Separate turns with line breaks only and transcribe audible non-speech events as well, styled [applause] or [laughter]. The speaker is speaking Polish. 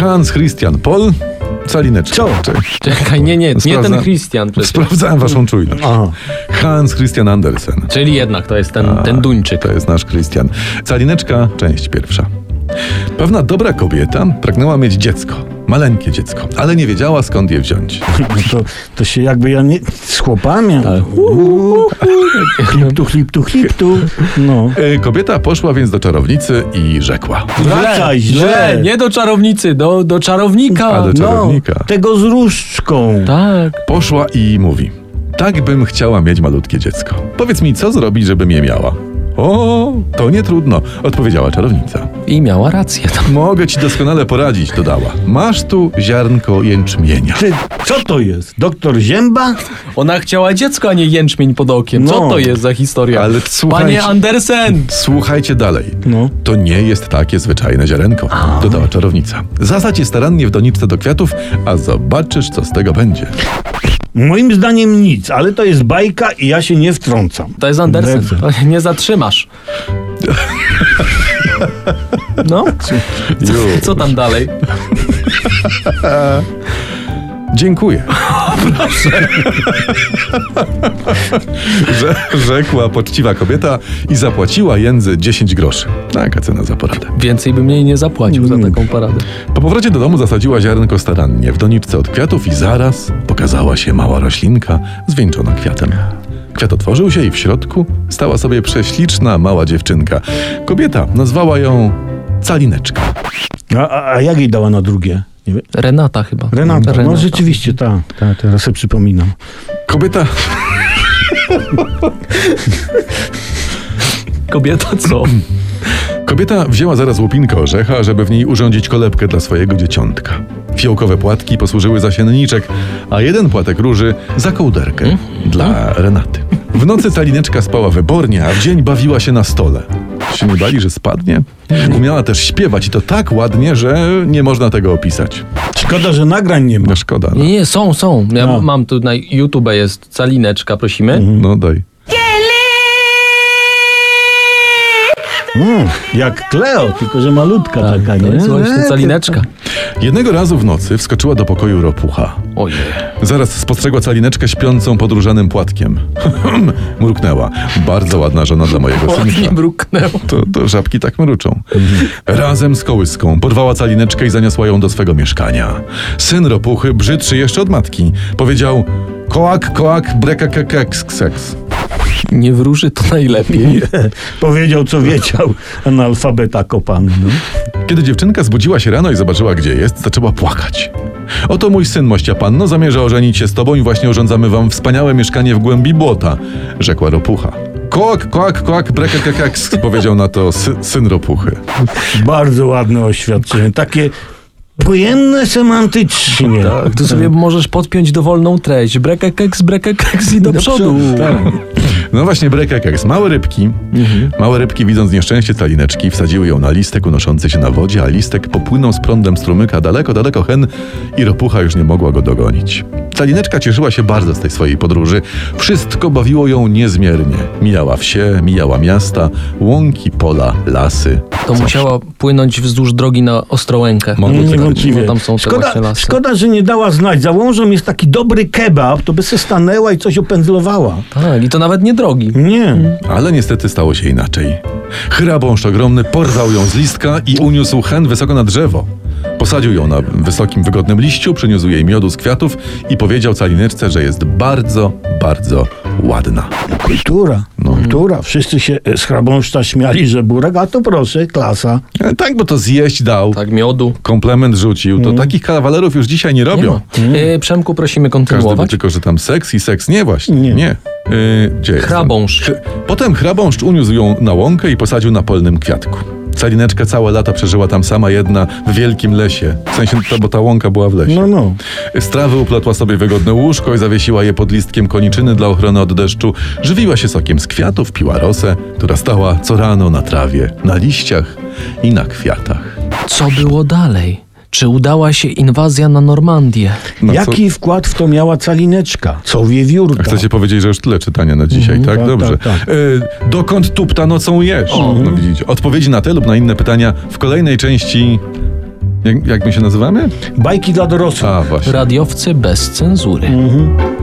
Hans Christian Pol, calineczka.
Co?
Czekaj, nie, nie, nie
Sprawdza-
ten Christian przecież.
Sprawdzałem waszą czujność.
Aha.
Hans Christian Andersen.
Czyli jednak to jest ten, ten Duńczyk.
To jest nasz Christian. Calineczka, część pierwsza. Pewna dobra kobieta pragnęła mieć dziecko. Maleńkie dziecko, ale nie wiedziała skąd je wziąć.
No [laughs] to, to się jakby ja nie... Z chłopami.
Tak.
Uuu. Chliptu, chliptu, chliptu. No.
E, Kobieta poszła więc do czarownicy i rzekła.
Wracaj, źle.
Nie do czarownicy, do, do czarownika.
A do
No,
czarownika.
tego z różdżką.
Tak.
Poszła i mówi: Tak bym chciała mieć malutkie dziecko. Powiedz mi, co zrobić, żebym je miała? O, to nie trudno, odpowiedziała czarownica.
I miała rację. To
Mogę ci doskonale poradzić, dodała. Masz tu ziarnko jęczmienia.
Ty, co to jest? Doktor Zięba?
Ona chciała dziecko, a nie jęczmień pod okiem. Co
No.
to jest za historia?
Ale
Panie
słuchajcie-
Andersen!
Słuchajcie dalej.
No.
To nie jest takie zwyczajne ziarenko, dodała czarownica. Zasadź je starannie w doniczce do kwiatów, a zobaczysz, co z tego będzie.
Moim zdaniem nic, ale to jest bajka i ja się nie wtrącam.
To jest Andersen.
Dobrze.
To Nie zatrzymasz. No, [laughs] co, co tam dalej? [laughs]
Dziękuję. [laughs] Proszę. Rzekła poczciwa kobieta i zapłaciła jędzy 10 groszy. Taka cena za poradę.
Więcej bym jej nie zapłacił
Mm.
za taką paradę.
Po powrocie do domu zasadziła ziarnko starannie w doniczce od kwiatów i zaraz pokazała się mała roślinka zwieńczona kwiatem. Kwiat otworzył się i w środku stała sobie prześliczna mała dziewczynka. Kobieta nazwała ją Calineczka.
Tak.
A, a, a jak jej dała na drugie? Nie wiem.
Renata chyba.
Renata, no rzeczywiście, ta, ta, teraz sobie przypominam.
Kobieta
Kobieta co?
Kobieta wzięła zaraz łupinkę orzecha, żeby w niej urządzić kolebkę dla swojego dzieciątka. Fiołkowe płatki posłużyły za sienniczek, a jeden płatek róży za kołderkę dla Renaty. W nocy talineczka spała wybornie, a w dzień bawiła się na stole. Się nie bali, że spadnie? Umiała też śpiewać i to tak ładnie, że nie można tego opisać.
Szkoda, że nagrań nie ma.
No szkoda. No,
Nie, nie, są, są.
No.
Ja
Mhm.
mam tu na YouTube jest calineczka, prosimy.
no daj.
Mm, jak Kleo, tylko że malutka taka,
No. Tak, To
nie?
jest właśnie calineczka.
Jednego razu w nocy wskoczyła do pokoju ropucha.
Ojej.
Zaraz spostrzegła calineczkę śpiącą podróżanym płatkiem. [laughs] Mruknęła. Bardzo ładna żona dla mojego
Ładnie
synka.
bruknęło.
To, to żabki tak mruczą. Razem z kołyską porwała calineczkę i zaniosła ją do swego mieszkania. Syn ropuchy, brzydszy jeszcze od matki, powiedział koak, koak, breka, keks, seks.
Nie wróży to najlepiej.
Powiedział, co wiedział, analfabeta kopany. No.
Kiedy dziewczynka zbudziła się rano i zobaczyła, gdzie jest, zaczęła płakać. Oto mój syn, mościa panno, zamierza ożenić się z tobą i właśnie urządzamy wam wspaniałe mieszkanie w głębi błota, rzekła ropucha. Koak, koak, koak, breka, keks, [laughs] powiedział na to sy- syn ropuchy.
Bardzo ładne oświadczenie, takie pojemne semantycznie.
Tak, tu sobie możesz podpiąć dowolną treść. Brekę keks, brekę keks i do przodu.
Tak.
No właśnie, brekek jak z małe rybki. Małe rybki, widząc nieszczęście calineczki, wsadziły ją na listek unoszący się na wodzie, a listek popłynął z prądem strumyka daleko, daleko hen i ropucha już nie mogła go dogonić. Calineczka cieszyła się bardzo z tej swojej podróży. Wszystko bawiło ją niezmiernie. Mijała wsie, mijała miasta, łąki, pola, lasy.
To musiała płynąć wzdłuż drogi na Ostrołękę.
Mogło tak być.
Niewątpliwie.
Bo tam są te
szkoda,
właśnie lasy.
szkoda, że nie dała znać. Za łążą jest taki dobry kebab, to by se stanęła i coś opędzlowała.
Tak, i to nawet nie drogi.
Nie.
Ale niestety stało się inaczej. Chrabąszcz ogromny porwał ją z listka i uniósł hen wysoko na drzewo. Posadził ją na wysokim, wygodnym liściu, przyniósł jej miodu z kwiatów i powiedział calineczce, że jest bardzo, bardzo ładna.
Kultura.
No.
Kultura. Wszyscy się e, z chrabąszcza śmiali, że burek, a to proszę, klasa.
E, Tak, bo to zjeść dał,
Tak, miodu.
komplement rzucił. To takich kawalerów już dzisiaj nie
Nie
robią.
ma.
Mhm.
E, Przemku, prosimy
Każdy by
kontynuować.
tylko, że tam seks i seks nie właśnie. Nie.
Nie.
nie. Yy, gdzie jest ten?
Chrabąszcz.
Chy- Potem chrabąszcz uniósł ją na łąkę i posadził na polnym kwiatku. Calineczka całe lata przeżyła tam sama jedna w wielkim lesie. W sensie, to, bo ta łąka była w lesie.
No, no.
Z trawy uplotła sobie wygodne łóżko i zawiesiła je pod listkiem koniczyny dla ochrony od deszczu. Żywiła się sokiem z kwiatów, piła rosę, która stała co rano na trawie, na liściach i na kwiatach.
Co było dalej? Czy udała się inwazja na Normandię?
No, co-
Jaki wkład w to miała calineczka? Co wiewiórka?
Chcecie powiedzieć, że już tyle czytania na dzisiaj, tak?
tak,
Dobrze.
tak, tak.
E, dokąd tupta nocą jesz? No, widzicie. Odpowiedzi na te lub na inne pytania w kolejnej części Jak, jak my się nazywamy?
Bajki dla dorosłych.
A, właśnie.
Radiowcy bez cenzury.
Mhm.